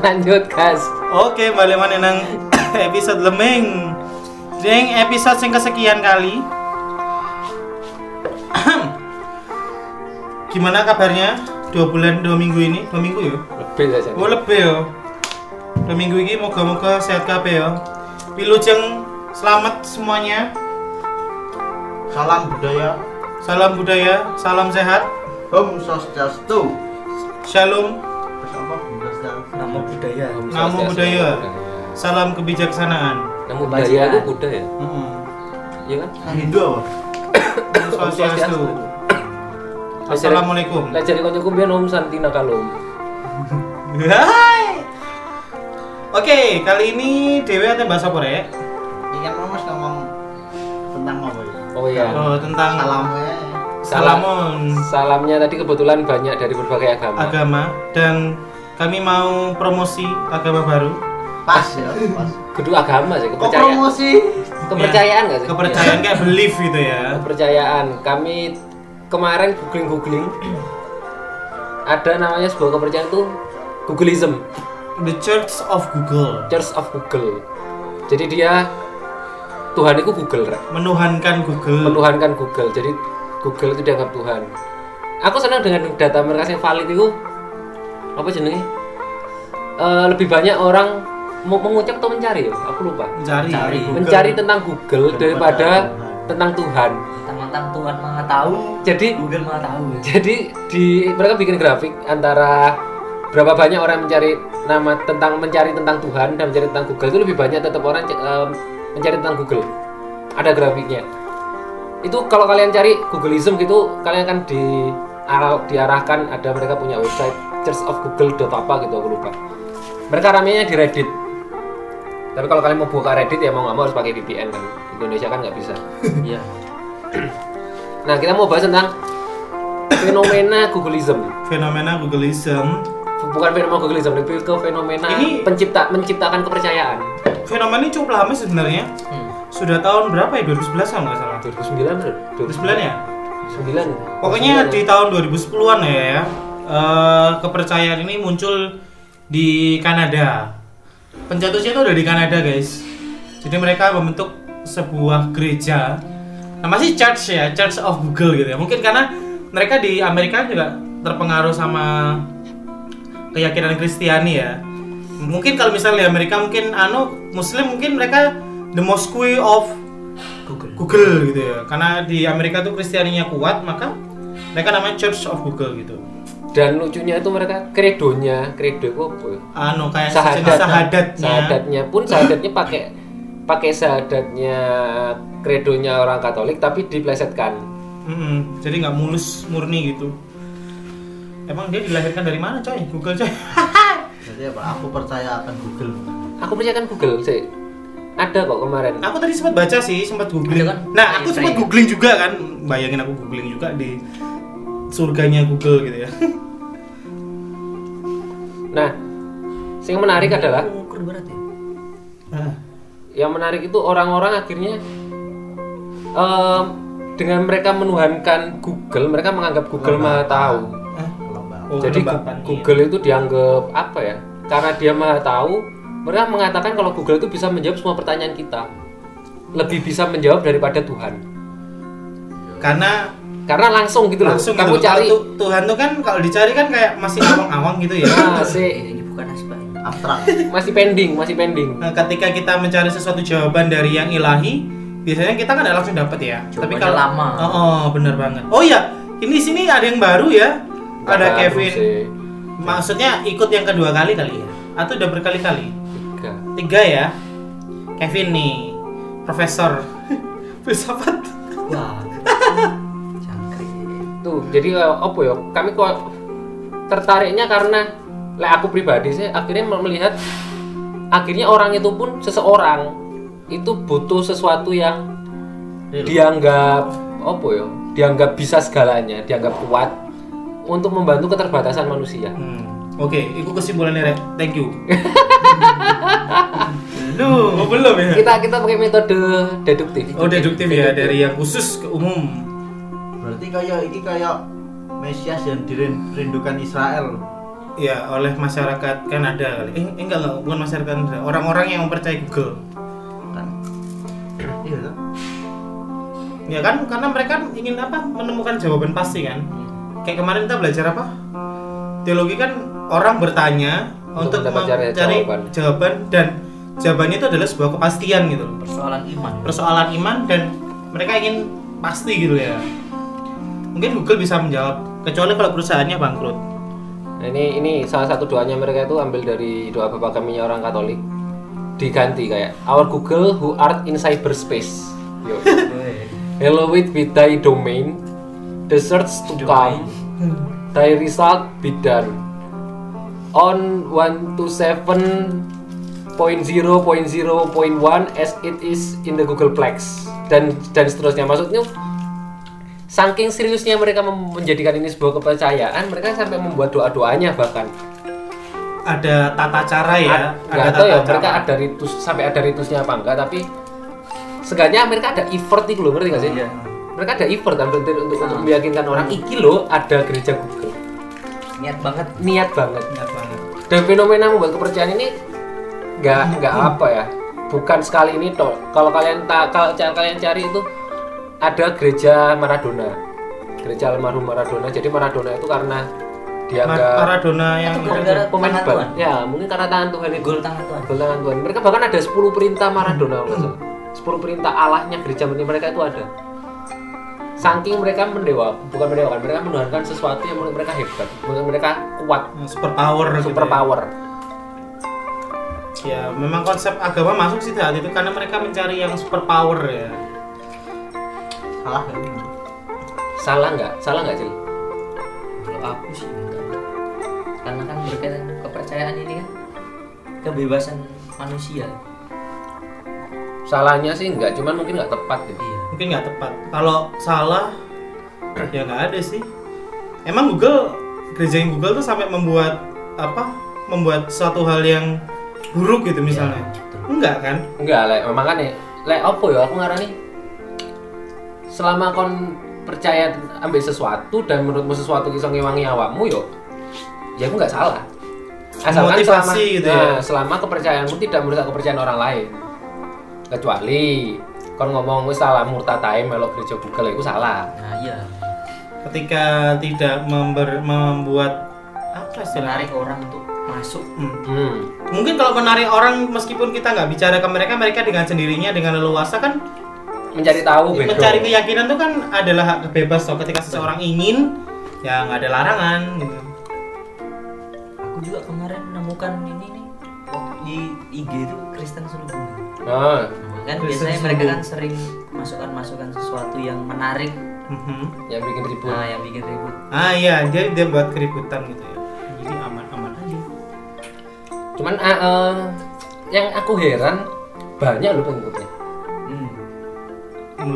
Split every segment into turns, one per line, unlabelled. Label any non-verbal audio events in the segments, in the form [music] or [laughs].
Lanjut, Kas.
Oke, balik mana nang episode lemeng. Jeng episode sing kesekian kali. [clears throat] Gimana kabarnya? Dua bulan, dua minggu ini, dua minggu ya?
Lebih saja.
Oh lebih ya. Dua minggu ini moga-moga sehat kabeh ya. Wilujeng selamat semuanya.
Salam budaya
Salam budaya, salam sehat,
Om Swastiastu.
shalom,
Bersama Bunda
nama budaya
namo budaya, salam kebijaksanaan.
Namo Iya. budaya itu budaya.
Mm-mm.
Iya kan?
Nah, Hindu apa?
Om Swastiastu. Assalamualaikum.
Lah jadi kancaku biyen Om Santina kalau.
Hai. Oke, kali ini Dewi akan bahas apa ya?
Ini kan Mas ngomong tentang apa ya?
Oh iya.
Oh, tentang
Salamnya ya.
salamun
Salamnya tadi kebetulan banyak dari berbagai agama.
agama dan kami mau promosi agama baru.
pas ya, pas.
Kedua agama sih,
Kok
kepercayaan.
promosi?
Kepercayaan nggak sih?
Kepercayaan kayak belief gitu
Ya,
ya.
Kepercayaan. Kami kemarin googling-googling ada namanya sebuah kepercayaan itu Googleism,
The Church of Google,
Church of Google. Jadi dia Tuhan itu Google, Rek.
menuhankan Google.
menuhankan Google. Jadi Google itu dianggap Tuhan. Aku senang dengan data mereka yang valid itu apa jenenge? Eh, lebih banyak orang mau mengucap atau mencari ya? Aku lupa.
Mencari,
Mencari.
Google.
Mencari tentang Google daripada tentang Tuhan.
tentang Tuhan maha tahu
Jadi
Google maha tahu ya
jadi di mereka bikin grafik antara berapa banyak orang mencari nama tentang mencari tentang Tuhan dan mencari tentang Google itu lebih banyak tetap orang em, mencari tentang Google. Ada grafiknya. Itu kalau kalian cari Googleism gitu kalian akan di ara- diarahkan ada mereka punya website Church of Google apa gitu aku lupa. Mereka ramenya di Reddit. Tapi kalau kalian mau buka Reddit ya mau nggak mau harus pakai VPN kan. Di Indonesia kan nggak bisa.
iya
Nah kita mau bahas tentang fenomena Googleism.
Fenomena Googleism.
bukan fenomena Googleism lebih ke fenomena
Ini-
pencipta menciptakan kepercayaan
Fenomena ini cukup lama sebenarnya. Sudah tahun berapa ya? 2011 kalau nggak salah.
2009 bro.
2009 ya?
2009
Pokoknya
2009.
di tahun 2010-an ya, ya eh, kepercayaan ini muncul di Kanada. Pencetusnya itu udah di Kanada guys. Jadi mereka membentuk sebuah gereja. Nama sih Church ya, Church of Google gitu ya. Mungkin karena mereka di Amerika juga terpengaruh sama keyakinan Kristiani ya. Mungkin kalau misalnya di Amerika mungkin anu Muslim mungkin mereka the Mosque of
Google
Google gitu ya. Karena di Amerika tuh Kristianinya kuat, maka mereka namanya Church of Google gitu.
dan lucunya itu mereka kredonya kredo itu apa ya?
Anu kayak
Sahadat.
sejenis sahadatnya.
sahadatnya pun sahadatnya pakai pakai sahadatnya kredonya orang Katolik tapi diplesetkan
Mm-mm, jadi nggak mulus murni gitu. Emang dia dilahirkan dari mana coy? Google coy. [laughs]
Jadi apa? Aku percaya akan Google.
aku percayakan Google sih ada kok kemarin
aku tadi sempat baca sih, sempat googling.
Ada kan?
Nah, aku
Iya,
Saya-
sempat
saya.
googling juga kan. Bayangin aku googling juga di surganya Google gitu ya. [laughs]
nah yang menarik adalah
ukur berat ya
Ah,
yang menarik itu orang-orang akhirnya em, dengan mereka menuhankan Google mereka menganggap Google maha tahu
ah.
Lomba.
Oh,
jadi
kelembapan.
Gu- Google itu dianggap apa ya karena dia maha tahu mereka mengatakan kalau Google itu bisa menjawab semua pertanyaan kita lebih bisa menjawab daripada Tuhan
Karena
karena langsung gitu loh
langsung gitu.
kamu cari
Kalau tu- Tuhan tuh kan kalau dicari kan kayak masih [coughs] awang-awang gitu ya.
Ah, masih
ini bukan asbak ini.
Abstrak.
masih pending masih pending
Nah, ketika kita mencari sesuatu jawaban dari yang ilahi, biasanya kita kan nggak langsung dapat ya.
Jawabannya lama.
Oh, oh, bener banget. Oh iya, ini sini ada yang baru ya. ada
Baru
Kevin.
sih.
Maksudnya ikut yang kedua kali kali ya. Atau udah berkali-kali?
tiga
Tiga ya. Kevin nih, profesor [laughs] filsafat.
wah jangkrik
tuh jadi eh, apa ya kami kok tertariknya karena lah aku pribadi sih akhirnya mel- melihat akhirnya orang itu pun seseorang itu butuh sesuatu yang dianggap apa ya dianggap bisa segalanya dianggap kuat untuk membantu keterbatasan manusia
Hmm, Oke, itu kesimpulannya Rek. Thank you. Lu, oh, belum ya?
kita kita pakai metode deduktif
Oh, deduktif ya dari yang khusus ke umum.
Berarti kayak ini kayak Mesias yang dirindukan Israel.
ya oleh masyarakat Kanada kali. Eh, eh, enggak enggak bukan masyarakat Kanada. Orang-orang yang mempercayai Google.
kan iya toh?
Ya kan karena mereka ingin apa? Menemukan jawaban pasti kan. Kayak kemarin kita belajar apa? Teologi kan orang bertanya
Untuk
untuk,
mendapatkan
mencari
jawaban.
jawaban. dan jawabannya itu adalah sebuah kepastian gitu loh.
persoalan iman
Persoalan iman dan mereka ingin pasti gitu ya. Mungkin Google bisa menjawab kecuali kalau perusahaannya bangkrut.
Nah, ini ini salah satu doanya mereka itu ambil dari doa Bapak kami orang Katolik. Diganti kayak Our Google who art in cyberspace. Yo. Hello with with thy domain. The search to come. Thy result be done. On 127.0.0.1 as it is in the Googleplex dan dan seterusnya maksudnya saking seriusnya mereka mem- menjadikan ini sebuah kepercayaan mereka sampai membuat doa doanya bahkan
Ada tata cara ya.
Ad- nggak tahu ya mereka ada ritus sampai ada ritusnya apa enggak tapi seenggaknya mereka ada effort itu loh ngerti nggak sih
Iya.
mereka ada effort kan berarti untuk, untuk meyakinkan orang iki loh ada gereja Google
niat banget
niat banget
Ingat banget.
dan fenomena membuat kepercayaan ini nggak nggak apa ya bukan sekali ini toh kalau kalian tak kalau ca- kalian cari itu ada gereja Maradona gereja almarhum Maradona jadi Maradona itu karena dia
Mar-
nggak
Maradona yang
Itu gara-gara
pemain
tangan
ban
Tuhan.
ya mungkin karena tangan Tuhan itu
gol tangan Tuhan
gol tangan Tuhan mereka bahkan ada 10 perintah Maradona kalau nggak salah. 10 perintah Allahnya gereja meni- mereka itu ada saking mereka mendewa bukan mendewakan mereka menuhankan sesuatu yang menurut mereka hebat menurut mereka kuat
super power
super power gitu ya.
gitu ya memang konsep agama masuk sih saat itu karena mereka mencari yang super power ya
salah kan?
salah nggak salah nggak sih
kalau aku sih enggak karena kan berkaitan kepercayaan ini kan kebebasan manusia
salahnya sih nggak cuman mungkin nggak tepat ya.
iya
mungkin nggak tepat kalau salah [clears throat] ya nggak ada sih emang Google gereja yang Google tuh sampai membuat apa membuat suatu hal yang buruk gitu misalnya enggak kan
enggak lek memang kan ya lek opo ya aku ngarani selama kon percaya ambil sesuatu dan menurutmu sesuatu iso ngewangi awakmu yo ya aku nggak salah asalkan
Motivasi
selama
gitu ya.
nah, selama kepercayaanmu tidak merusak kepercayaan orang lain kecuali kon ngomong wis salah murtad ae melok gereja Google itu salah
nah iya
ketika tidak member, membuat apa istilahnya
menarik orang untuk masuk
Hmm.
hmm.
mungkin kalau menarik orang meskipun kita nggak bicara ke mereka mereka dengan sendirinya dengan leluasa kan
mencari tahu bedo.
mencari keyakinan tuh kan adalah hak bebas toh ketika seseorang ingin ya nggak ada larangan gitu
aku juga kemarin menemukan ini nih waktu di IG itu Kristen seluruh dunia.
nah,
Nah, kan
Kristen
biasanya mereka
Sumbu.
kan sering masukkan-masukkan sesuatu yang menarik
Mhm.
yang bikin ribut
nah yang bikin ribut
ah iya dia dia buat keributan gitu ya jadi aman aman aja
cuman ah, eh, yang aku heran banyak loh pengikutnya
hmm.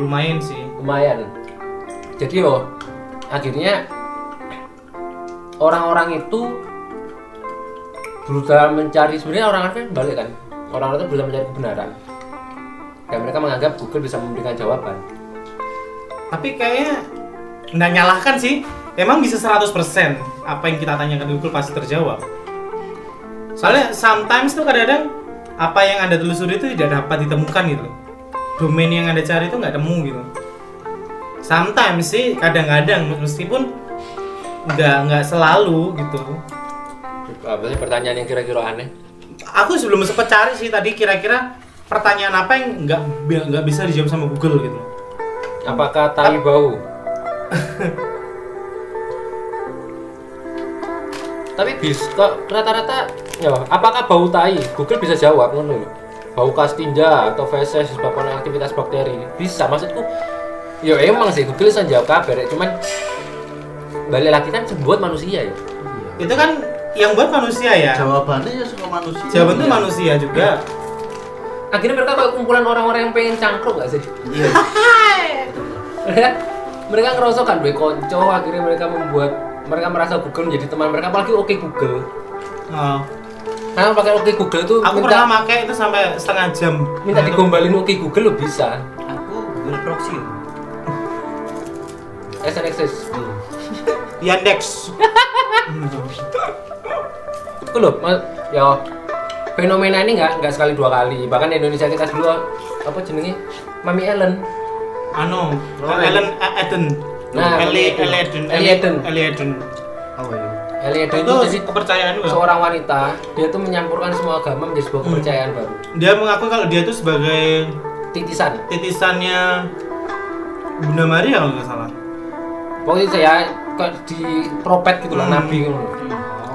lumayan sih
lumayan jadi yo akhirnya orang-orang itu berusaha mencari sebenarnya orang kan balik kan orang itu berusaha mencari kebenaran dan mereka menganggap Google bisa memberikan jawaban
tapi kayaknya nggak nyalahkan sih emang bisa 100% apa yang kita tanyakan Google pasti terjawab soalnya sometimes tuh kadang-kadang apa yang anda telusuri itu tidak dapat ditemukan gitu loh. domain yang anda cari itu nggak temu gitu sometimes sih kadang-kadang meskipun nggak nggak selalu gitu
apa sih pertanyaan yang kira-kira aneh
aku sebelum sempat cari sih tadi kira-kira pertanyaan apa yang nggak nggak bisa dijawab sama Google gitu loh.
apakah tai bau tapi bis kok rata-rata ya apakah bau tai Google bisa jawab ngono lho. bau kastinja atau feses sebabkan aktivitas bakteri bisa maksudku ya emang sih Google bisa jawab kabar ya. cuman balik lagi kan sebuat manusia ya
itu kan yang buat manusia ya
jawabannya ya suka manusia
jawaban tuh manusia juga
akhirnya mereka kayak kumpulan orang-orang yang pengen cangkruk gak sih
iya
mereka mereka ngerasa kan gue konco akhirnya mereka membuat mereka merasa Google menjadi teman mereka apalagi oke Google
Oh,
karena pakai oke Google tuh
aku
minta
pernah pakai itu sampai setengah jam Nah,
minta
itu-
digombalin oke Google lo bisa
aku Google proxy loh.
SNXS
Tuh.
Yandex
itu loh mas ya fenomena ini nggak nggak sekali dua kali bahkan di Indonesia kita dulu apa jenenge Mami Ellen
Anu,
Rowan.
Ellen Eden.
Nah,
Eli
Eli
Eden.
Eli Eden.
Eli Eden.
Apa ya?
Ellen itu,
Itu
jadi
kepercayaan gue.
seorang wanita dia tuh menyampurkan semua agama menjadi
Hmm.
sebuah kepercayaan baru
Dia mengaku kalau dia itu sebagai
titisan
titisannya Bunda Maria kalau nggak
Oh.
salah.
pokoknya saya kok di propet gitu lah
Hmm.
nabi gitu loh.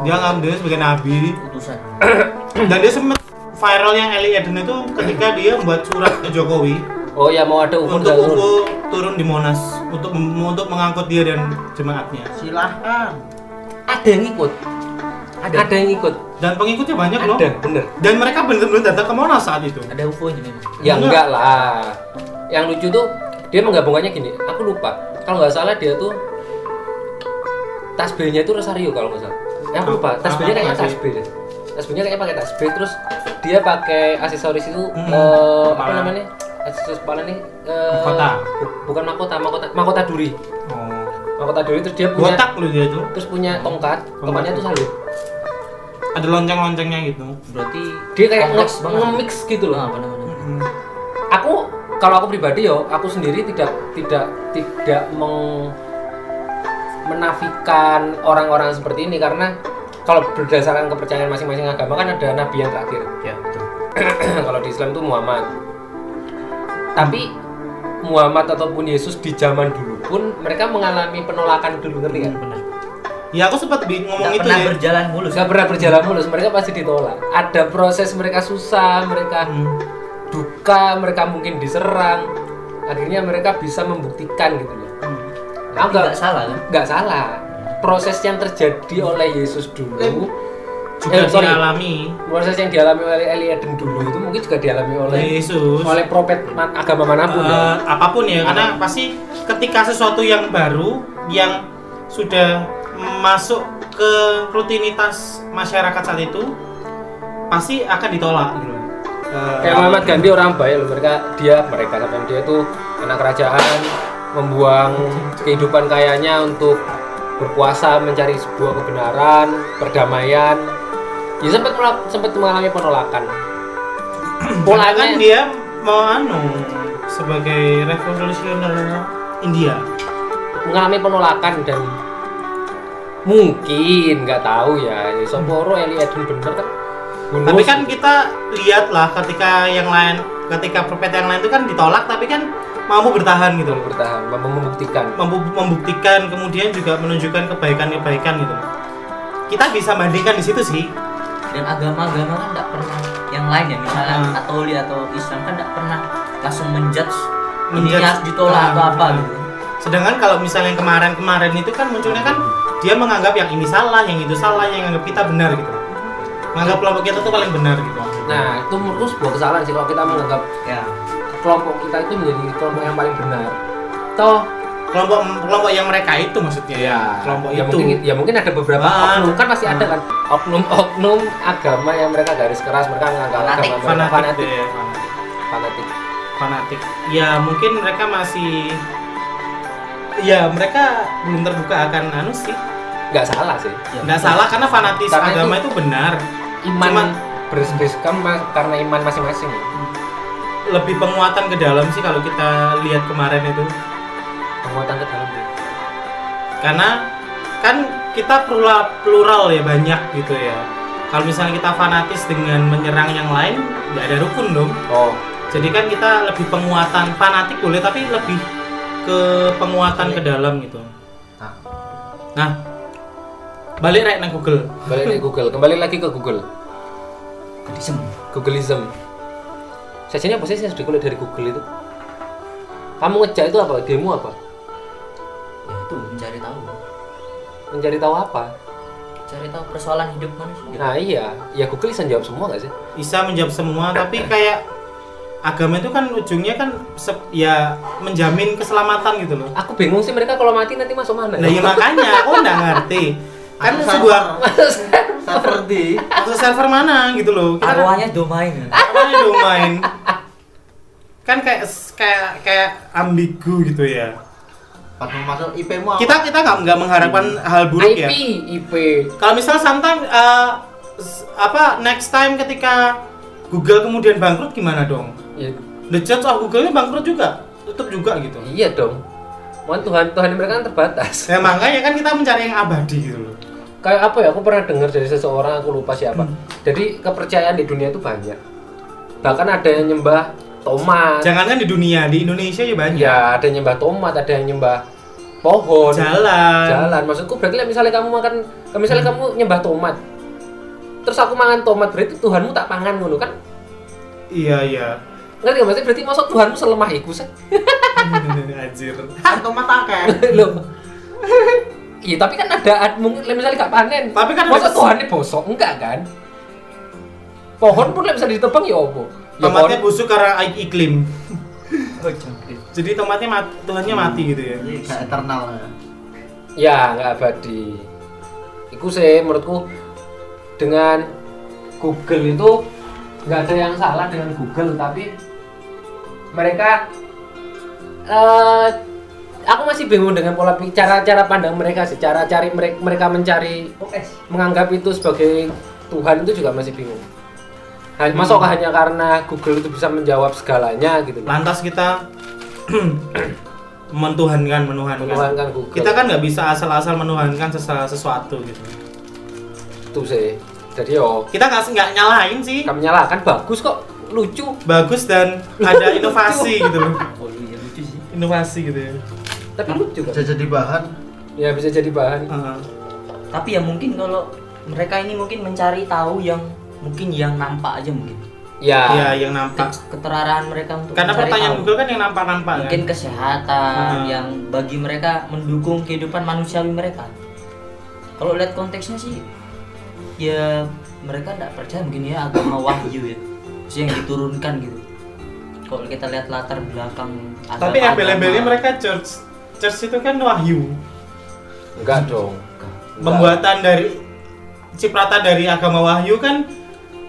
Dia ngaku dia sebagai nabi
Utusan.
[clears throat] dan dia sempat viral yang Eli Eden itu ketika dia membuat surat ke Jokowi
oh ya mau ada UFO
untuk
nggak turun
UFO turun di Monas untuk untuk mengangkut dia dan jemaatnya.
Silahkan.
ada yang ikut ada, yang ikut
Dan pengikutnya banyak loh.
ada bener
Dan mereka benar-benar datang ke Monas saat itu.
Ada UFO nya memang.
ya
Enggak.
enggak lah yang lucu tuh dia menggabungkannya gini aku lupa kalau nggak salah dia tuh tasbihnya itu Rosario kalau nggak salah ya aku lupa
Apa-
tasbihnya
apa
kayaknya
sih?
tasbih deh tasbihnya kayaknya pakai tasbih terus dia pakai aksesoris itu
Hmm,
eh, apa
kepala.
namanya aksesoris kepala ini
Mahkota.
bukan mahkota mahkota mahkota duri
Oh.
mahkota duri terus dia punya
Botak loh dia itu.
terus punya tongkat tongkatnya tuh salib
Ada lonceng-loncengnya gitu.
Berarti
dia kayak
kompleks
nge-
banget.
nge-mix gitu
Ah,
loh
apa namanya?
aku kalau aku pribadi yo aku sendiri tidak tidak tidak meng, menafikan orang-orang seperti ini karena kalau berdasarkan kepercayaan masing-masing agama kan ada nabi yang terakhir
Ya betul.
[clears throat] kalau di Islam itu Muhammad tapi Muhammad ataupun Yesus di zaman dulu pun mereka mengalami penolakan dulu ngerti kan
Benar.
Ya aku sempat bi- ngomong
Nggak
itu
pernah
ya.
berjalan mulus. kan?
nggak pernah berjalan mulus mereka pasti ditolak ada proses mereka susah mereka
Hmm.
duka mereka mungkin diserang akhirnya mereka bisa membuktikan gitu loh
Tapi nggak
agak
salah kan?
nggak salah proses yang terjadi oleh Yesus dulu
Juga
Eh, sorry.
dialami
proses yang dialami oleh Eli Eden dulu itu mungkin juga dialami oleh
oleh Yesus.
oleh profet man- agama manapun ya.
Eh, apapun ya, karena pasti ketika sesuatu yang baru yang sudah masuk ke rutinitas masyarakat saat itu pasti akan ditolak gitu. Eh,
kayak Muhammad Gandhi orang baik loh mereka dia mereka sampai dia itu anak kerajaan membuang kehidupan kayanya untuk berpuasa mencari sebuah kebenaran perdamaian ya sempat melak- sempat mengalami
[clears throat]
penolakan
Polanya kan
polanya
dia mau anu sebagai revolusioner India.
mengalami penolakan dan mungkin nggak tahu ya ya Soporo Eli Edun bener kan gitu, Bulus.
Tapi kan kita lihatlah ketika yang lain, ketika perpet yang lain itu kan ditolak, tapi kan mampu bertahan gitu
Betul,
loh.
bertahan mem- membuktikan
Mampu membuktikan, kemudian juga menunjukkan kebaikan-kebaikan gitu. loh. Kita bisa bandingkan di situ sih.
dan agama-agama kan tidak pernah yang lain ya misalnya
Nah.
Hmm.
Katolik atau Islam kan tidak pernah langsung menjudge ini
Menjudge.
harus ditolak
Hmm.
atau apa
Nah.
Hmm.
gitu
Sedangkan kalau misalnya yang kemarin-kemarin itu kan munculnya kan dia menganggap yang ini salah, yang itu salah, yang anggap kita benar gitu. Menganggap kelompok kita tuh paling benar gitu.
nah itu menurutku sebuah kesalahan sih kalau kita menganggap
ya
kelompok kita itu menjadi kelompok yang paling benar toh
Kelompok kelompok yang mereka itu maksudnya ya. Kelompok
ya
itu.
mungkin, ya mungkin ada beberapa
Ah.
oknum kan pasti ada kan oknum-oknum agama yang mereka garis keras mereka menganggap
Fanatik.
agama mereka
fanatik,
fanatik
deh, fanatik.
fanatik
fanatik ya mungkin mereka masih ya mereka belum terbuka akan anu sih
nggak salah sih
ya,
nggak salah karena fanatis
Karena
agama itu, benar
iman
Cuman-
bersebiskan karena iman masing-masing
lebih penguatan ke dalam sih kalau kita lihat kemarin itu
penguatan ke dalam diri.
karena kan kita plural plural ya banyak gitu ya kalau misalnya kita fanatis dengan menyerang yang lain nggak ada rukun dong
oh
jadi kan kita lebih penguatan fanatik boleh tapi lebih ke penguatan ke dalam gitu
Nah.
nah balik rek nang Google
balik dari Google kembali lagi ke Google
Buddhism.
Googleism sajanya apa sih yang sudah dari Google itu kamu ngejar itu apa demo apa
ya itu mencari tahu
mencari tahu apa
cari tahu persoalan hidup manusia
nah iya ya Google bisa jawab semua nggak sih
bisa menjawab semua tapi kayak agama itu kan ujungnya kan se- ya menjamin keselamatan gitu loh
aku bingung sih mereka kalau mati nanti masuk mana
nah ya makanya aku nggak ngerti kan
Aku
sebuah
Seperti
maksud server mana gitu loh kita kan
arwahnya domain ya.
Ah.
apanya domain kan kayak kayak kayak ambigu gitu ya
Pas mau masuk IP mu apa?
ya. kita kita nggak nggak mengharapkan hal buruk
IP
ya
IP
kalau misal sometimes eh, s- apa next time ketika Google kemudian bangkrut gimana dong?
Ya,
The Church of Google ini bangkrut juga, tutup juga gitu.
iya dong. Mohon Tuhan, Tuhan mereka kan terbatas.
Ya makanya kan kita mencari yang abadi gitu loh.
Kayak apa ya? Aku pernah dengar dari seseorang, aku lupa siapa. Jadi kepercayaan di dunia itu banyak. Bahkan ada yang nyembah tomat.
Jangankan kan di dunia, di Indonesia ya banyak.
Ya, ada yang nyembah tomat, ada yang nyembah
Iya.
pohon.
Jalan.
jalan maksudku berarti lah misalnya kamu makan eh, misalnya
Hmm.
kamu nyembah tomat terus aku makan tomat berarti Tuhanmu tak pangan ngono kan
Iya iya. [laughs]
ngerti gak maksudnya berarti maksud Tuhanmu selemah iku sih [laughs]
Anjir.
Ya,
Atau mata [laughs] kan?
loh iya tapi kan ada ad- mungkin lah misalnya gak panen
Tapi kan ada
masa
kes-
Tuhannya bosok enggak kan pohon pun lah bisa ditebang ya opo ya
Tomatnya
pohon
busuk karena ik- iklim.
Oh, jangkrik.
Jadi tomatnya mati, Tuhannya mati gitu ya.
Iya,
Jadi
kan.
gak eternal ya.
ya nggak abadi iku sih menurutku dengan Google itu nggak ada yang salah dengan Google tapi mereka eh aku masih bingung dengan pola pikir cara-cara pandang mereka sih cara cari mereka, mereka mencari
Oh, eh.
menganggap itu sebagai Tuhan itu juga masih bingung hanya, masuk hanya karena Google itu bisa menjawab segalanya gitu
Lantas kita [clears throat] mentuhankan, menuhankan.
menuhankan Google
Kita kan nggak bisa asal-asal menuhankan sesa- sesuatu gitu.
itu sih jadi yo
Kita nggak nggak nyalahin sih.
kami nyalakan bagus kok lucu
Bagus dan
[laughs]
ada inovasi gitu loh.
Oh, iya lucu sih.
Inovasi gitu ya.
tapi lucu kan
Bisa jadi bahan
ya bisa jadi bahan
Heeh.
Tapi ya mungkin kalau mereka ini mungkin mencari tahu yang mungkin yang nampak aja mungkin.
Ya,
ya,
yang nampak.
Ke- Keterarahan mereka untuk
Karena
mencari
pertanyaan
Nah. tahu.
Google kan yang nampak-nampak kan.
mungkin kesehatan
Hmm.
yang bagi mereka mendukung kehidupan manusiawi mereka. Kalau lihat konteksnya sih ya mereka tidak percaya mungkin ya agama wahyu ya. Terus yang diturunkan gitu. Kalau kita lihat latar belakang
Tapi
agama-
embel-embelnya mereka church. Church itu kan wahyu.
enggak dong Enggak.
Pembuatan dari cipratan dari agama wahyu kan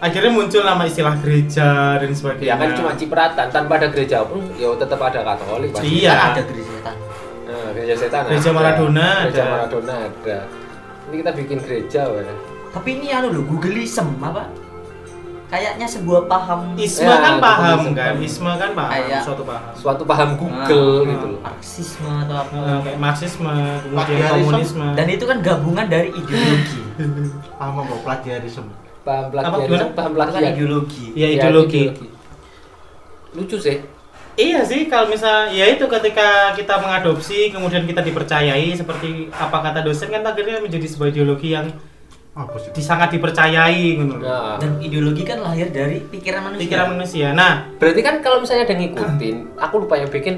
akhirnya muncul nama istilah gereja dan sebagainya.
ya kan cuma cipratan tanpa ada gereja pun ya tetap ada katolik pasti.
Iya.
Kan ada gereja setan.
Nah, gereja setan
Gereja
ada.
Maradona
gereja
ada.
Maradona ada ini kita bikin gereja ya. weh.
Tapi ini anu loh, Googleism apa? Kayaknya sebuah paham
Isme
Ya,
kan
itu
paham
konsep
kan,
paham.
isme kan paham,
Kayak-
suatu paham.
suatu paham Google
Ah,
gitu loh
marxisme atau apa.
Eh, kayak Marxisme, kemudian
Plagiarisme.
komunisme.
Dan itu kan gabungan dari
[laughs]
ideologi.
paham apa plagiarisme.
paham
gimana?
plagiarisme paham
itu kan
plagiarisme
ideologi.
Iya.
ya ideologi.
lucu sih
Iya sih kalau misal ya itu ketika kita mengadopsi kemudian kita dipercayai seperti apa kata dosen kan akhirnya menjadi sebuah ideologi yang
Apa sih?
di- sangat dipercayai gitu loh.
nah,
Dan ideologi kan lahir dari pikiran
Ya.
manusia.
Pikiran manusia. Nah,
berarti kan kalau misalnya ada ngikutin aku lupa yang bikin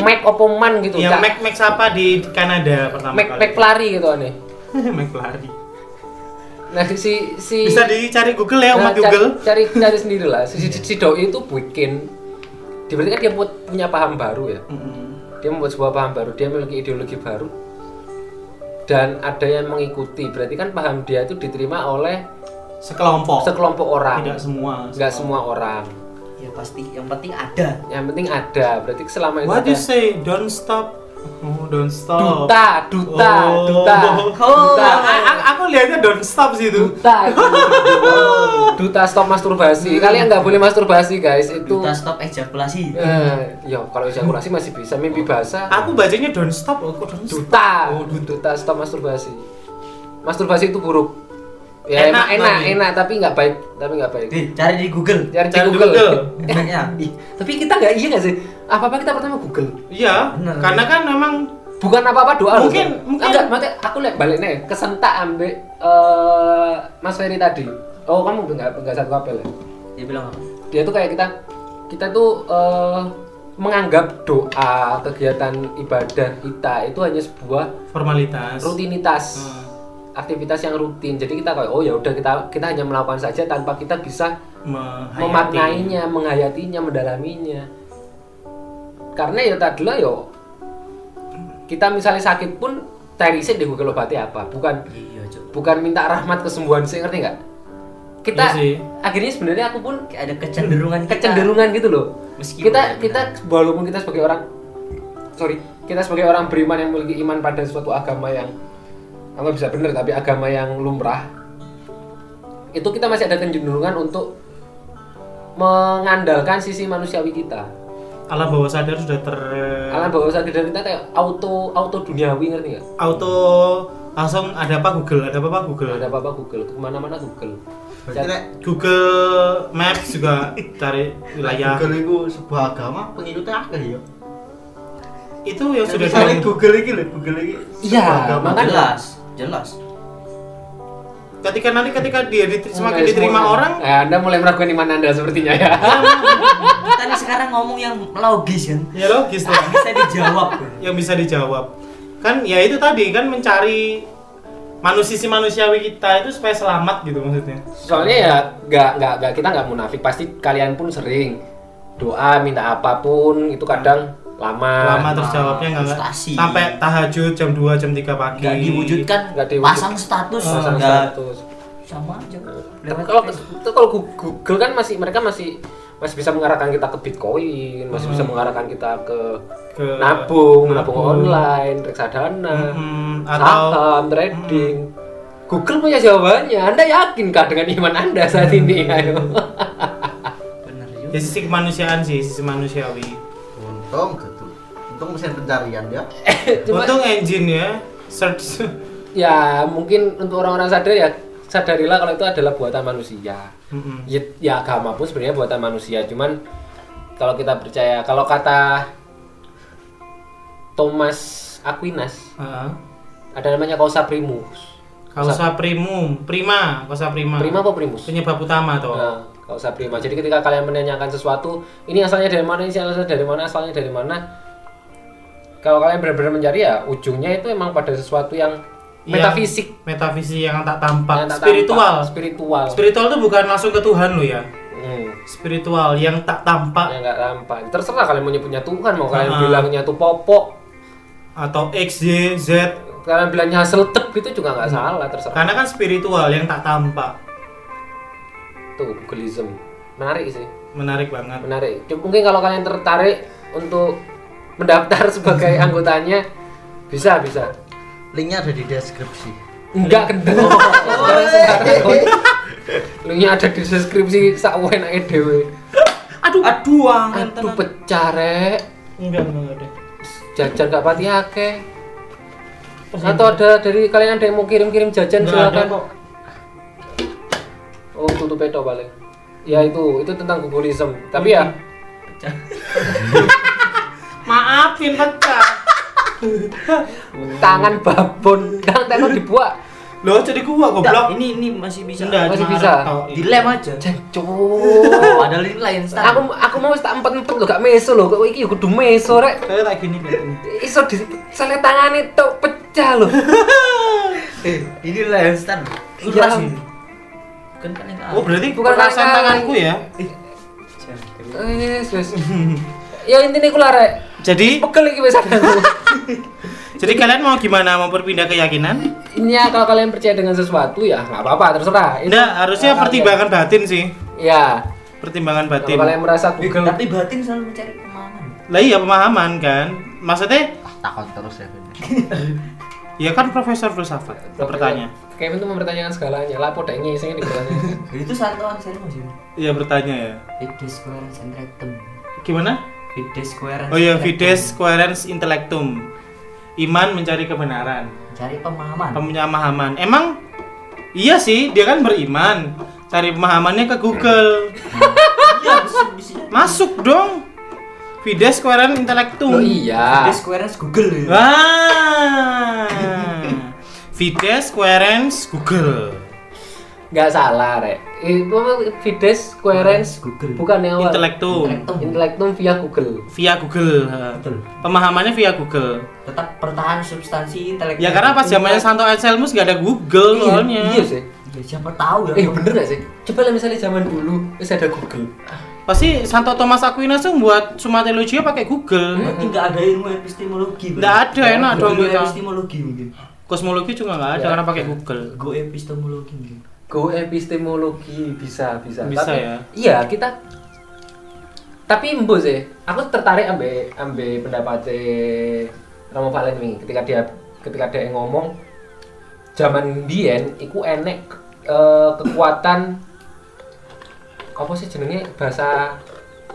Mac Opoman gitu
yang
Kak.
Iya, Mac Mac siapa di Kanada pertama
Mac
kali?
Mac pelari gitu aneh
[laughs] Mac pelari.
nah si si
Bisa dicari Google ya
Nah,
umat Google.
Cari, cari cari sendiri lah. Si, si- si doi itu bikin. Dia berarti kan dia buat- punya paham baru ya. Dia membuat sebuah paham baru. Dia memiliki ideologi baru. Dan ada yang mengikuti. Berarti kan paham dia itu diterima oleh
Sekelompok.
sekelompok orang.
Oh. Tidak semua.
Nggak semua orang.
Ya pasti, yang penting ada.
Yang penting ada. Berarti selama itu
What
ada.
you say? Don't stop. Oh, don't stop.
Duta, duta,
Oh.
duta,
Oh.
duta,
A- a- aku lihatnya don't stop sih itu.
duta, duta stop masturbasi. Kalian nggak boleh masturbasi guys. Itu,
Duta stop ejakulasi.
eh, ya kalau ejakulasi masih bisa, mimpi basah.
Aku bacanya don't stop. Oh, kok don't stop?
duta
Oh, duta.
duta stop masturbasi masturbasi itu buruk ya
Enak
enak enak
tapi.
enak tapi nggak baik tapi nggak baik
Nih, cari di Google.
cari di
Cari di
Google,
Google.
Enaknya.
Ih, tapi kita nggak iya nggak sih apa apa kita pertama Google
Iya,
Bener.
karena kan memang
bukan apa apa doa
Mungkin-
loh.
mungkin-
enggak maksudnya aku lihat balik nih kesentak ambek eh, Mas Ferry tadi oh kamu nggak nggak satu kapel ya
Dia bilang apa?
dia tuh kayak kita kita tuh eh, menganggap doa kegiatan ibadah kita itu hanya sebuah
formalitas.
rutinitas
Hmm.
aktivitas yang rutin jadi kita kayak oh ya udah kita kita hanya melakukan saja tanpa kita bisa
Menghayati.
memaknainya menghayatinya mendalaminya karena ya tadi lah yo kita misalnya sakit pun terisik di Google obati apa bukan
Iya, Cok.
bukan minta rahmat kesembuhan sih ngerti nggak kita
Iya sih.
akhirnya sebenarnya aku pun
Kayak ada kecenderungan kita.
kecenderungan gitu loh
Meskipun ya,
kita kita walaupun kita sebagai orang sorry kita sebagai orang beriman yang memiliki iman pada suatu agama yang apa bisa benar tapi agama yang lumrah itu kita masih ada kecenderungan untuk mengandalkan sisi manusiawi kita.
alam bawah sadar sudah ter
Alam bawah sadar kita kayak auto auto duniawi ngerti nggak?
auto langsung ada apa Google ada apa, apa Google
Ada apa-apa Google, kemana-mana Google.
Berarti nek
Google Maps juga cari wilayah
Google itu sebuah agama pengikutnya akeh ya.
itu yang
Kan
sudah
misalnya
dibangun.
Google iki lho, Google iki.
Iya,
sebuah agama.
makanya-
jelas jelas
ketika nanti ketika dia diteri- semakin
Mulai
diterima
semua-
orang
Eh, anda mulai meragukan iman anda sepertinya ya.
kita nih sekarang ngomong yang logis kan
ya logis lah
bisa dijawab kan. bro.
yang bisa dijawab kan ya itu tadi kan mencari manusia sisi manusiawi kita itu supaya selamat gitu maksudnya
Soalnya ya nggak nggak nggak kita nggak munafik pasti kalian pun sering doa minta apapun itu kadang lama.
lama terjawabnya nggak nggak-
frustasi.
sampai tahajud jam 2 jam 3 pagi
nggak diwujudkan
Nggak diwujud.
pasang status
Pasang
nggak
status.
sama aja
Tapi
Lewat
kalau
Facebook.
itu kalau Gu- Google kan masih mereka masih masih bisa mengarahkan kita ke Bitcoin, masih bisa mengarahkan kita ke
ke
nabung, nabung
nabung.
online, reksadana,
Mm, Hmm. atau
saham, trading. Google punya jawabannya. Anda yakinkah dengan iman Anda saat ini? [laughs] Ayo.
bener juga
ya sisi kemanusiaan sih sisi manusiawi
Untung gitu. Untung mesin pencarian ya.
Cuma-
untung engine ya search [laughs]
ya mungkin untuk orang-orang sadar ya sadarilah kalau itu adalah buatan manusia.
Mm-mm.
ya, ya agama pun sebenarnya buatan manusia cuman kalau kita percaya kalau kata Thomas Aquinas
Ah.
ada namanya causa primus
Kausa primum, prima, kausa prima.
prima apa primus
Penyebab utama toh.
nah, causa prima jadi ketika kalian menanyakan sesuatu ini asalnya dari mana ini asalnya dari mana asalnya dari mana kalau kalian benar-benar mencari ya ujungnya itu emang pada sesuatu yang
Yang-
metafisik
Iya. Metafisik yang tak tampak,
yang tak
spiritual.
tampak, spiritual
Spiritual itu bukan langsung ke Tuhan lo ya.
Hmm.
Spiritual yang tak tampak
yang nggak tampak terserah kalian mau nyebutnya Tuhan mau kalian
Ah.
bilangnya tuh popok
atau X Y Z
kalian bilangnya hasil tep gitu juga nggak salah terserah
karena kan spiritual yang tak tampak.
tuh Googleism menarik sih
Menarik banget.
menarik Cuma mungkin kalau kalian tertarik untuk mendaftar [laughs] sebagai anggotanya bisa bisa
Linknya ada di deskripsi.
enggak kendor lu nya ada di deskripsi sakwen ae dhewe
aduh aduh angin
aduh pecah rek
Enggak, enggak, enggak ada.
jajan nggak pati akeh atau ada dari kalian ada yang mau kirim-kirim jajan
Nggak ada
silakan
kok.
oh tutup pedo paling ya itu itu tentang Googleism tapi ya
pecah
Maafin pecah.
tangan babon tangan tangan dibuat
Loh, jadi gua
Enggak,
goblok.
ini ini masih bisa Oh,
Enggak,
Masih
cuma
bisa.
arek tok.
dilem aja Oh,
jancuk
padahal ini lain style
aku aku mau tak empat empat lo gak meso lo kok iki kudu meso rek
Kayak tak gini kayaknya.
iso di sale tangane tok pecah lo
eh ini lain style
Ya.
keras ini kan kan yang ke
Oh, berarti bukan
Bukan
perasaan
karena-
tanganku ya.
wes wes
[laughs]
ya intinya iku lah rek
Jadi,
pegel iki wes aku
jadi kalian mau gimana? Mau berpindah keyakinan?
ini ya kalau kalian percaya dengan sesuatu ya nggak apa-apa terserah Itu-
Enggak, harusnya
Ah,
pertimbangan batin sih.
ya
Pertimbangan
kalau
batin.
kalian merasa Google
tapi batin selalu mencari kemana
Lah iya pemahaman kan. Maksudnya
Takon terus ya. Ben.
ya kan profesor filsafat bertanya.
Kevin tuh mempertanyakan segalanya lah podo
[laughs]
ngising dipertanyakan
itu satuan serius ya
Iya bertanya ya.
Fides square and rectum
Gimana?
Fides square
Oh iya, fides coherens intellectum. Iman mencari kebenaran,
cari pemahaman
pemahaman. Emang iya sih, dia kan beriman. Cari pemahamannya ke Google.
[laughs] iya bisa bisa
Masuk dong. Fides coherens intellectum.
oh iya
Fides square Google ya
Ah. Wah. Fides coherens Google.
nggak salah rek itu Fides Coherence
Google.
bukan yang awal
Intellectum.
Intellectum.
Intellectum via Google
via Google. ha.
Betul.
Pemahamannya via Google.
tetap pertahan substansi intelektual
Ya karena pas zamannya Santo Anselmus gak ada Google
Iya,
soalnya.
iya sih
Ya, siapa tahu
eh
ya
bener gak sih coba lah misalnya zaman dulu terus ada Google
Pasti Santo Thomas Aquinas tuh buat Summa Theologia pakai
Hmm?
Google.
Berarti nggak ada ilmu epistemologi. Bro.
Nggak ada, enak dong
Ilmu
kita.
Epistemologi mungkin.
Kosmologi juga nggak ada
Ya.
karena pakai Google.
Go epistemologi mungkin.
go epistemologi bisa bisa
Bisa
Tapi-
ya.
iya kita tapi embo sih aku tertarik ambe ambe pendapatnya Romo Valen ini ketika dia ketika dia ngomong zaman dien iku enek eh, kekuatan apa sih jenenge bahasa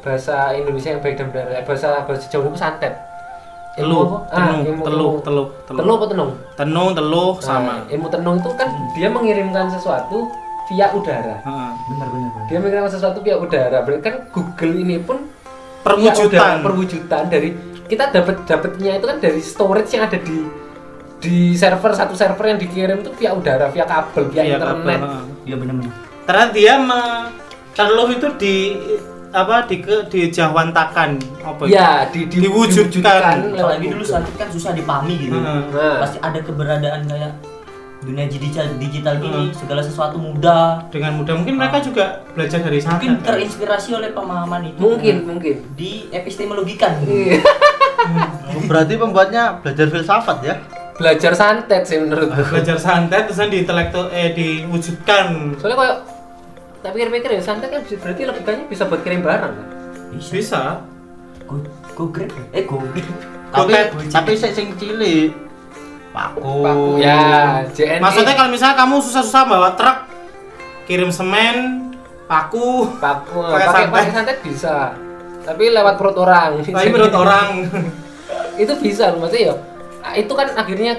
bahasa Indonesia yang baik dan benar Eh, bahasa bahasa Jawa itu santet Ilmu
Teluh,
apa? Ah,
tenung,
ilmu
teluh,
tenung.
teluh,
Teluh apa tenung?
Tenung, teluh
Nah,
sama.
ilmu tenung itu kan dia mengirimkan sesuatu via udara
Heeh.
benar benar benar.
dia mengirimkan sesuatu via udara berarti kan Google ini pun via udara,
Perwujudan.
perwujudan dari kita dapat dapatnya itu kan dari storage yang ada di di server satu server yang dikirim itu via udara via kabel
Iya,
via, internet
kabel, heeh.
Iya benar benar.
Ternyata dia me teluh itu di apa di ke di jawantakan apa itu?
ya di, di-
Diwujudkan.
lewat
Apalagi dulu
Google.
santet kan susah dipahami gitu.
Heeh.
Nah,
Pasti ada keberadaan kayak dunia digital digital
Hmm.
gini, segala sesuatu mudah.
Dengan mudah mungkin mereka
Ah.
juga belajar dari sana.
Mungkin
kan?
terinspirasi oleh pemahaman itu.
mungkin Iya. mungkin
di epistemologikan.
Oh, Berarti pembuatnya belajar filsafat ya?
[laughs] belajar santet sih menurutku
belajar santet terus di intelektu eh diwujudkan
soalnya kayak tak pikir-pikir ya santet kan bisa- berarti logikanya bisa buat kirim barang kan?
bisa
Go, go grab. Eh go grab.
Tapi
Bukan.
tapi sing sing cilik. Paku.
ya JNE
Oh. maksudnya kalau misalnya kamu susah-susah bawa truk kirim semen paku
Paku,
Pakai
pakai
santet.
pakai santet bisa tapi lewat perut orang
tapi menurut orang [laughs]
itu bisa loh maksudnya ya ah, itu kan akhirnya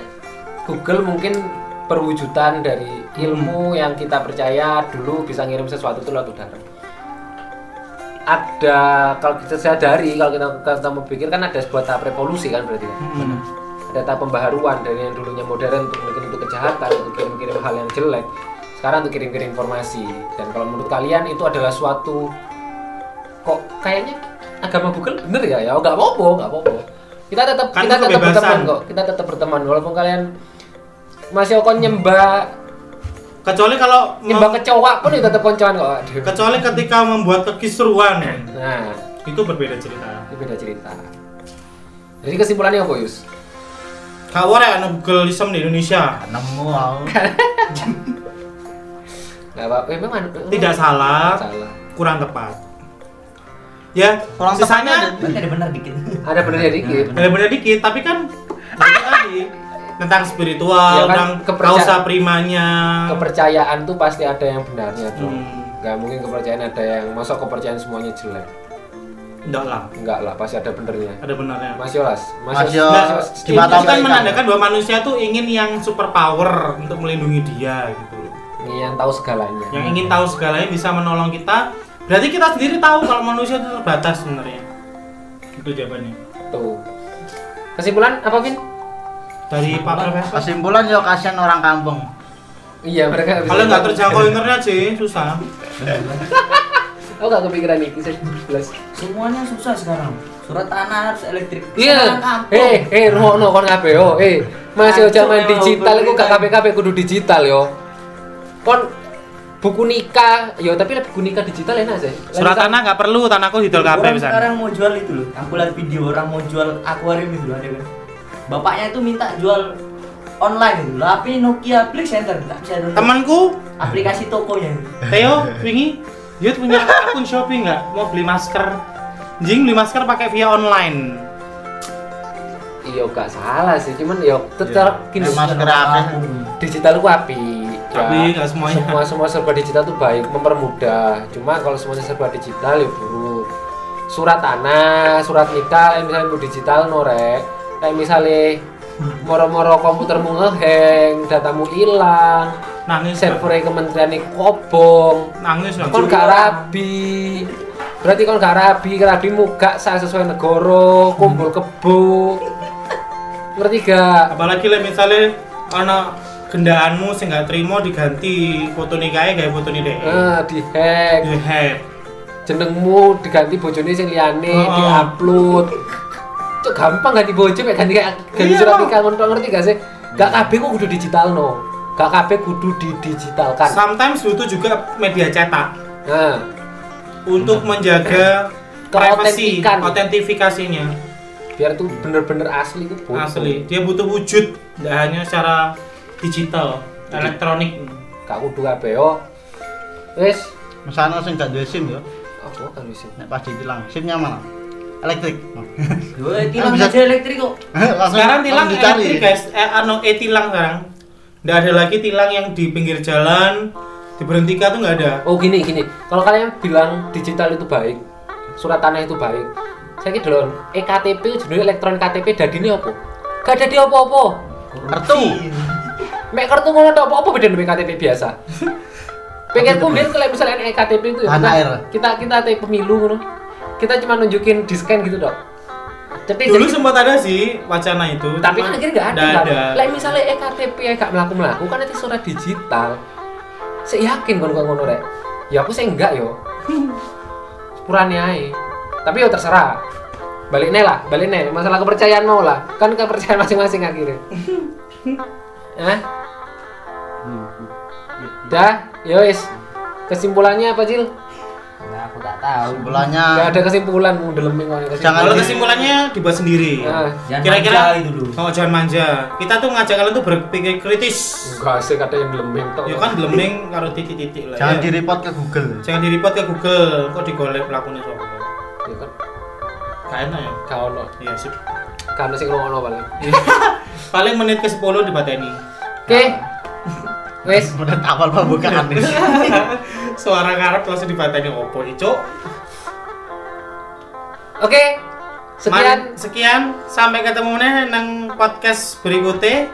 Google mungkin perwujudan dari ilmu
Hmm.
yang kita percaya dulu bisa ngirim sesuatu itu lewat udara ada kalau kita sadari kalau kita kita mau pikir kan ada sebuah tahap revolusi kan berarti kan
Hmm.
ada tahap pembaharuan dari yang dulunya modern untuk mungkin untuk kejahatan untuk kirim-kirim hal yang jelek sekarang untuk kirim-kirim informasi dan kalau menurut kalian itu adalah suatu kok kayaknya agama Google bener ya ya nggak apa-apa nggak apa-apa kita tetap
Kan itu
kita tetap
kebebasan.
berteman kok kita tetap berteman walaupun kalian masih kok nyembah
kecuali kalau mem-
nyembah kecoa pun ya tetap koncoan kok Aduh.
kecuali ketika membuat kekisruan
nah
itu berbeda cerita
itu beda cerita jadi kesimpulannya apa Yus?
kawar ya anu Googleism di Indonesia
Nemu aku.
Nggak apa-apa, memang anu-
tidak salah
salah.
kurang tepat ya
Kurang
sisanya
tepatnya
Kan ada benar dikit. [laughs]
Ada benernya dikit.
benar-benar dikit tapi kan balik lagi tentang
Ya
spiritual
kan,
tentang
kepercaya-
kausa primanya
kepercayaan tuh pasti ada yang benarnya tuh
Hmm.
nggak mungkin kepercayaan ada yang masuk kepercayaan semuanya jelek
enggak lah
enggak lah pasti ada benernya
ada benarnya
Mas Yolas Mas,
Mas
Yolas-
Yolas,
Mas Yolas-
di
itu
mata
kan
mereka.
menandakan bahwa manusia tuh ingin yang super power untuk melindungi dia gitu loh.
ini yang tahu segalanya
Yang ingin tahu segalanya bisa menolong kita. Berarti kita sendiri tahu kalau manusia itu terbatas sebenarnya. Itu jawabannya.
tuh kesimpulan apa Vin?
Dari Pak Profesor.
Kesimpulan yo kasihan orang kampung.
iya mereka bisa
Kalau nggak terjangkau internet sih susah.
oh nggak kepikiran nih bisa jelas
Semuanya susah sekarang. Surat tanah harus elektrik.
iya
Sekarang kampung.
eh eh rumo no kon kabeh yo eh masih
Hancur
zaman
memang
digital iku gak
pemerintah.
kabeh kabeh kudu digital yo kon buku nikah yo tapi buku nikah digital enak sih
Surat tanah nggak perlu, tanahku didol kabeh
Orang
bisa.
sekarang mau jual itu loh. Aku lihat video orang mau jual akuarium itu loh ada kan. Bapaknya itu minta jual online gitu. Lah api Nokia Play Center enggak bisa download.
Temanku
aplikasi tokonya.
Theo wingi dia tuh punya akun Shopee nggak mau beli masker. Jing beli masker pakai via online.
iya gak salah sih cuman yo tetap
Ini
gini
masker akeh.
digital itu api ya.
Tapi nggak semuanya.
semua semua serba digital tuh baik mempermudah cuma kalau semuanya serba digital ya buruk surat tanah surat nikah yang misalnya mau digital norek kayak misalnya Hmm. moro-moro komputermu ngeheng datamu hilang
Nangis. nggak?
servernya kementerian ini kobong
Nangis nggak?
kon Iya. gak rabi berarti kon gak rabi rabimu gak sah sesuai negoro kumpul kebo ngerti gak
apalagi lah misalnya ana gendaanmu sing gak trimo diganti foto nikahnya kayak foto nih Iya, deh
eh dihack
Dihack.
jenengmu diganti bojone sing liyane
Oh.
diupload cok gampang ganti bojo mek ganti kayak
Iya,
ganti surat
Bang.
nikah ngono tok, ngerti gak sih gak kabeh kok kudu digitalno gak kabeh kudu didigitalkan
sometimes butuh juga media cetak
nah
untuk
[laughs]
menjaga privasi
Keautentikan.
autentifikasinya
biar tuh bener-bener asli itu butuh.
asli dia butuh wujud tidak hanya secara digital elektronik
gak kudu kabeh yo wis
Misalnya sing gak duwe SIM yo,
apa kan wis
nek pas ditilang, SIM-nya mana?
[laughs]
Elektrik.
Dua tilang
bisa-
aja elektrik kok.
Langsung-
sekarang tilang
langsung
anu,
dicari.
eh, elektrik guys eh, ano e tilang sekarang tidak ada lagi tilang yang di pinggir jalan diberhentikan tuh nggak ada
Oh gini gini, kalau kalian bilang digital itu baik, surat tanah itu baik, saya kira dulu E EKTP jenis elektronik KTP dari ini apa? Gak ada di apa-apa.
Kartu.
Mek kartu ngono tok apa-apa beda dengan KTP biasa. Pengen ku biar kalau misalnya EKTP itu ya,
Tanah air.
kita kita kita pemilu ngono. Kita cuma nunjukin di scan gitu dok. Tapi
dulu sempat ada sih wacana itu
tapi
cuma
kan akhirnya nggak ada.
nggak
Kan? Lah misalnya EKTP ya gak melaku melaku kan itu surat digital. Saya yakin kon kok ngono rek. Ya aku sih enggak yo. Sepurane ae. Tapi yo terserah. Balik nih lah, balik nih. Masalah kepercayaan mau lah. Kan kepercayaan masing-masing akhirnya. Hah? Dah, yo wis. Kesimpulannya apa, Jil?
Nah, aku gak tahu.
Bulannya
Gak ada kesimpulan, mau deleming kok kesimpulan.
Ah. Jangan-
kalau kesimpulannya dibuat sendiri
Ah,
Jangan manja
kira-kira
itu dulu.
oh, jangan manja kita tuh ngajak kalian tuh berpikir kritis
Enggak sih kata yang deleming tok.
ya kan beleming karo titik-titik lah
jangan
ya.
di report ke Google.
jangan di report ke Google kok digolek pelakunya sopo
Ya kan
gak enak ya
gak ono.
iya sip
Karena sing ngono paling.
paling menit ke 10 dibateni
Oke. Wes.
Udah awal
[laughs]
pembukaan nih.
suara ngarep langsung dibateni opo nih cok
Oke. Sekian.
Mari- sekian sampai ketemu nih nang podcast berikutnya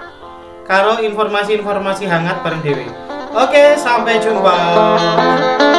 karo informasi-informasi hangat bareng Dewi oke sampai jumpa